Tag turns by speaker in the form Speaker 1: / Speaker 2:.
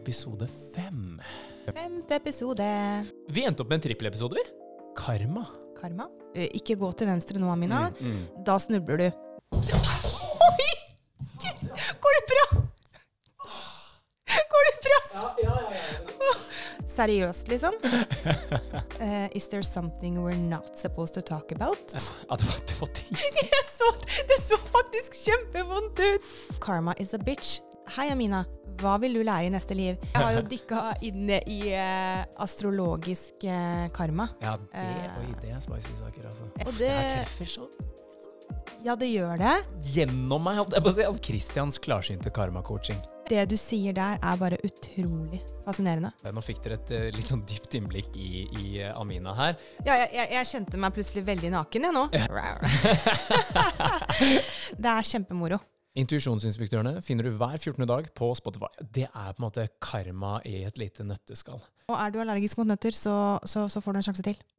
Speaker 1: Episode fem.
Speaker 2: Femte episode.
Speaker 1: Vi endte opp med en trippelepisode, vi. Karma.
Speaker 2: Karma. Eh, Ikke gå til venstre nå, Amina.
Speaker 1: Mm.
Speaker 2: Da snubler du. Oi! Chris, Går det bra? Går det bra? Seriøst, liksom? Eh, is there something we're not supposed to talk about?
Speaker 1: Ja, det var, det var ting.
Speaker 2: Jeg så, det så faktisk kjempevondt ut. Karma is a bitch. Hei, Amina. Hva vil du lære i neste liv? Jeg har jo dykka inne i eh, astrologisk eh, karma.
Speaker 1: Ja,
Speaker 2: Eh.
Speaker 1: det, oi, det er spicy saker, altså.
Speaker 2: Og
Speaker 1: Uff,
Speaker 2: det-
Speaker 1: her treffer så
Speaker 2: Ja, det gjør det.
Speaker 1: gjennom meg. holdt Jeg på å si. Altså, Christians klarsynte karma-coaching.
Speaker 2: Det du sier der, er bare utrolig fascinerende.
Speaker 1: Eh, Nå fikk dere et eh, litt sånn dypt innblikk i, i eh, Amina her.
Speaker 2: Ja, jeg, jeg, jeg kjente meg plutselig veldig naken, jeg nå. det er kjempemoro.
Speaker 1: Intuisjonsinspektørene finner du hver 14. dag på Spotify. Det er på en måte karma i et lite nøtteskall.
Speaker 2: Og er du allergisk mot nøtter, så, så, så får du en sjanse til.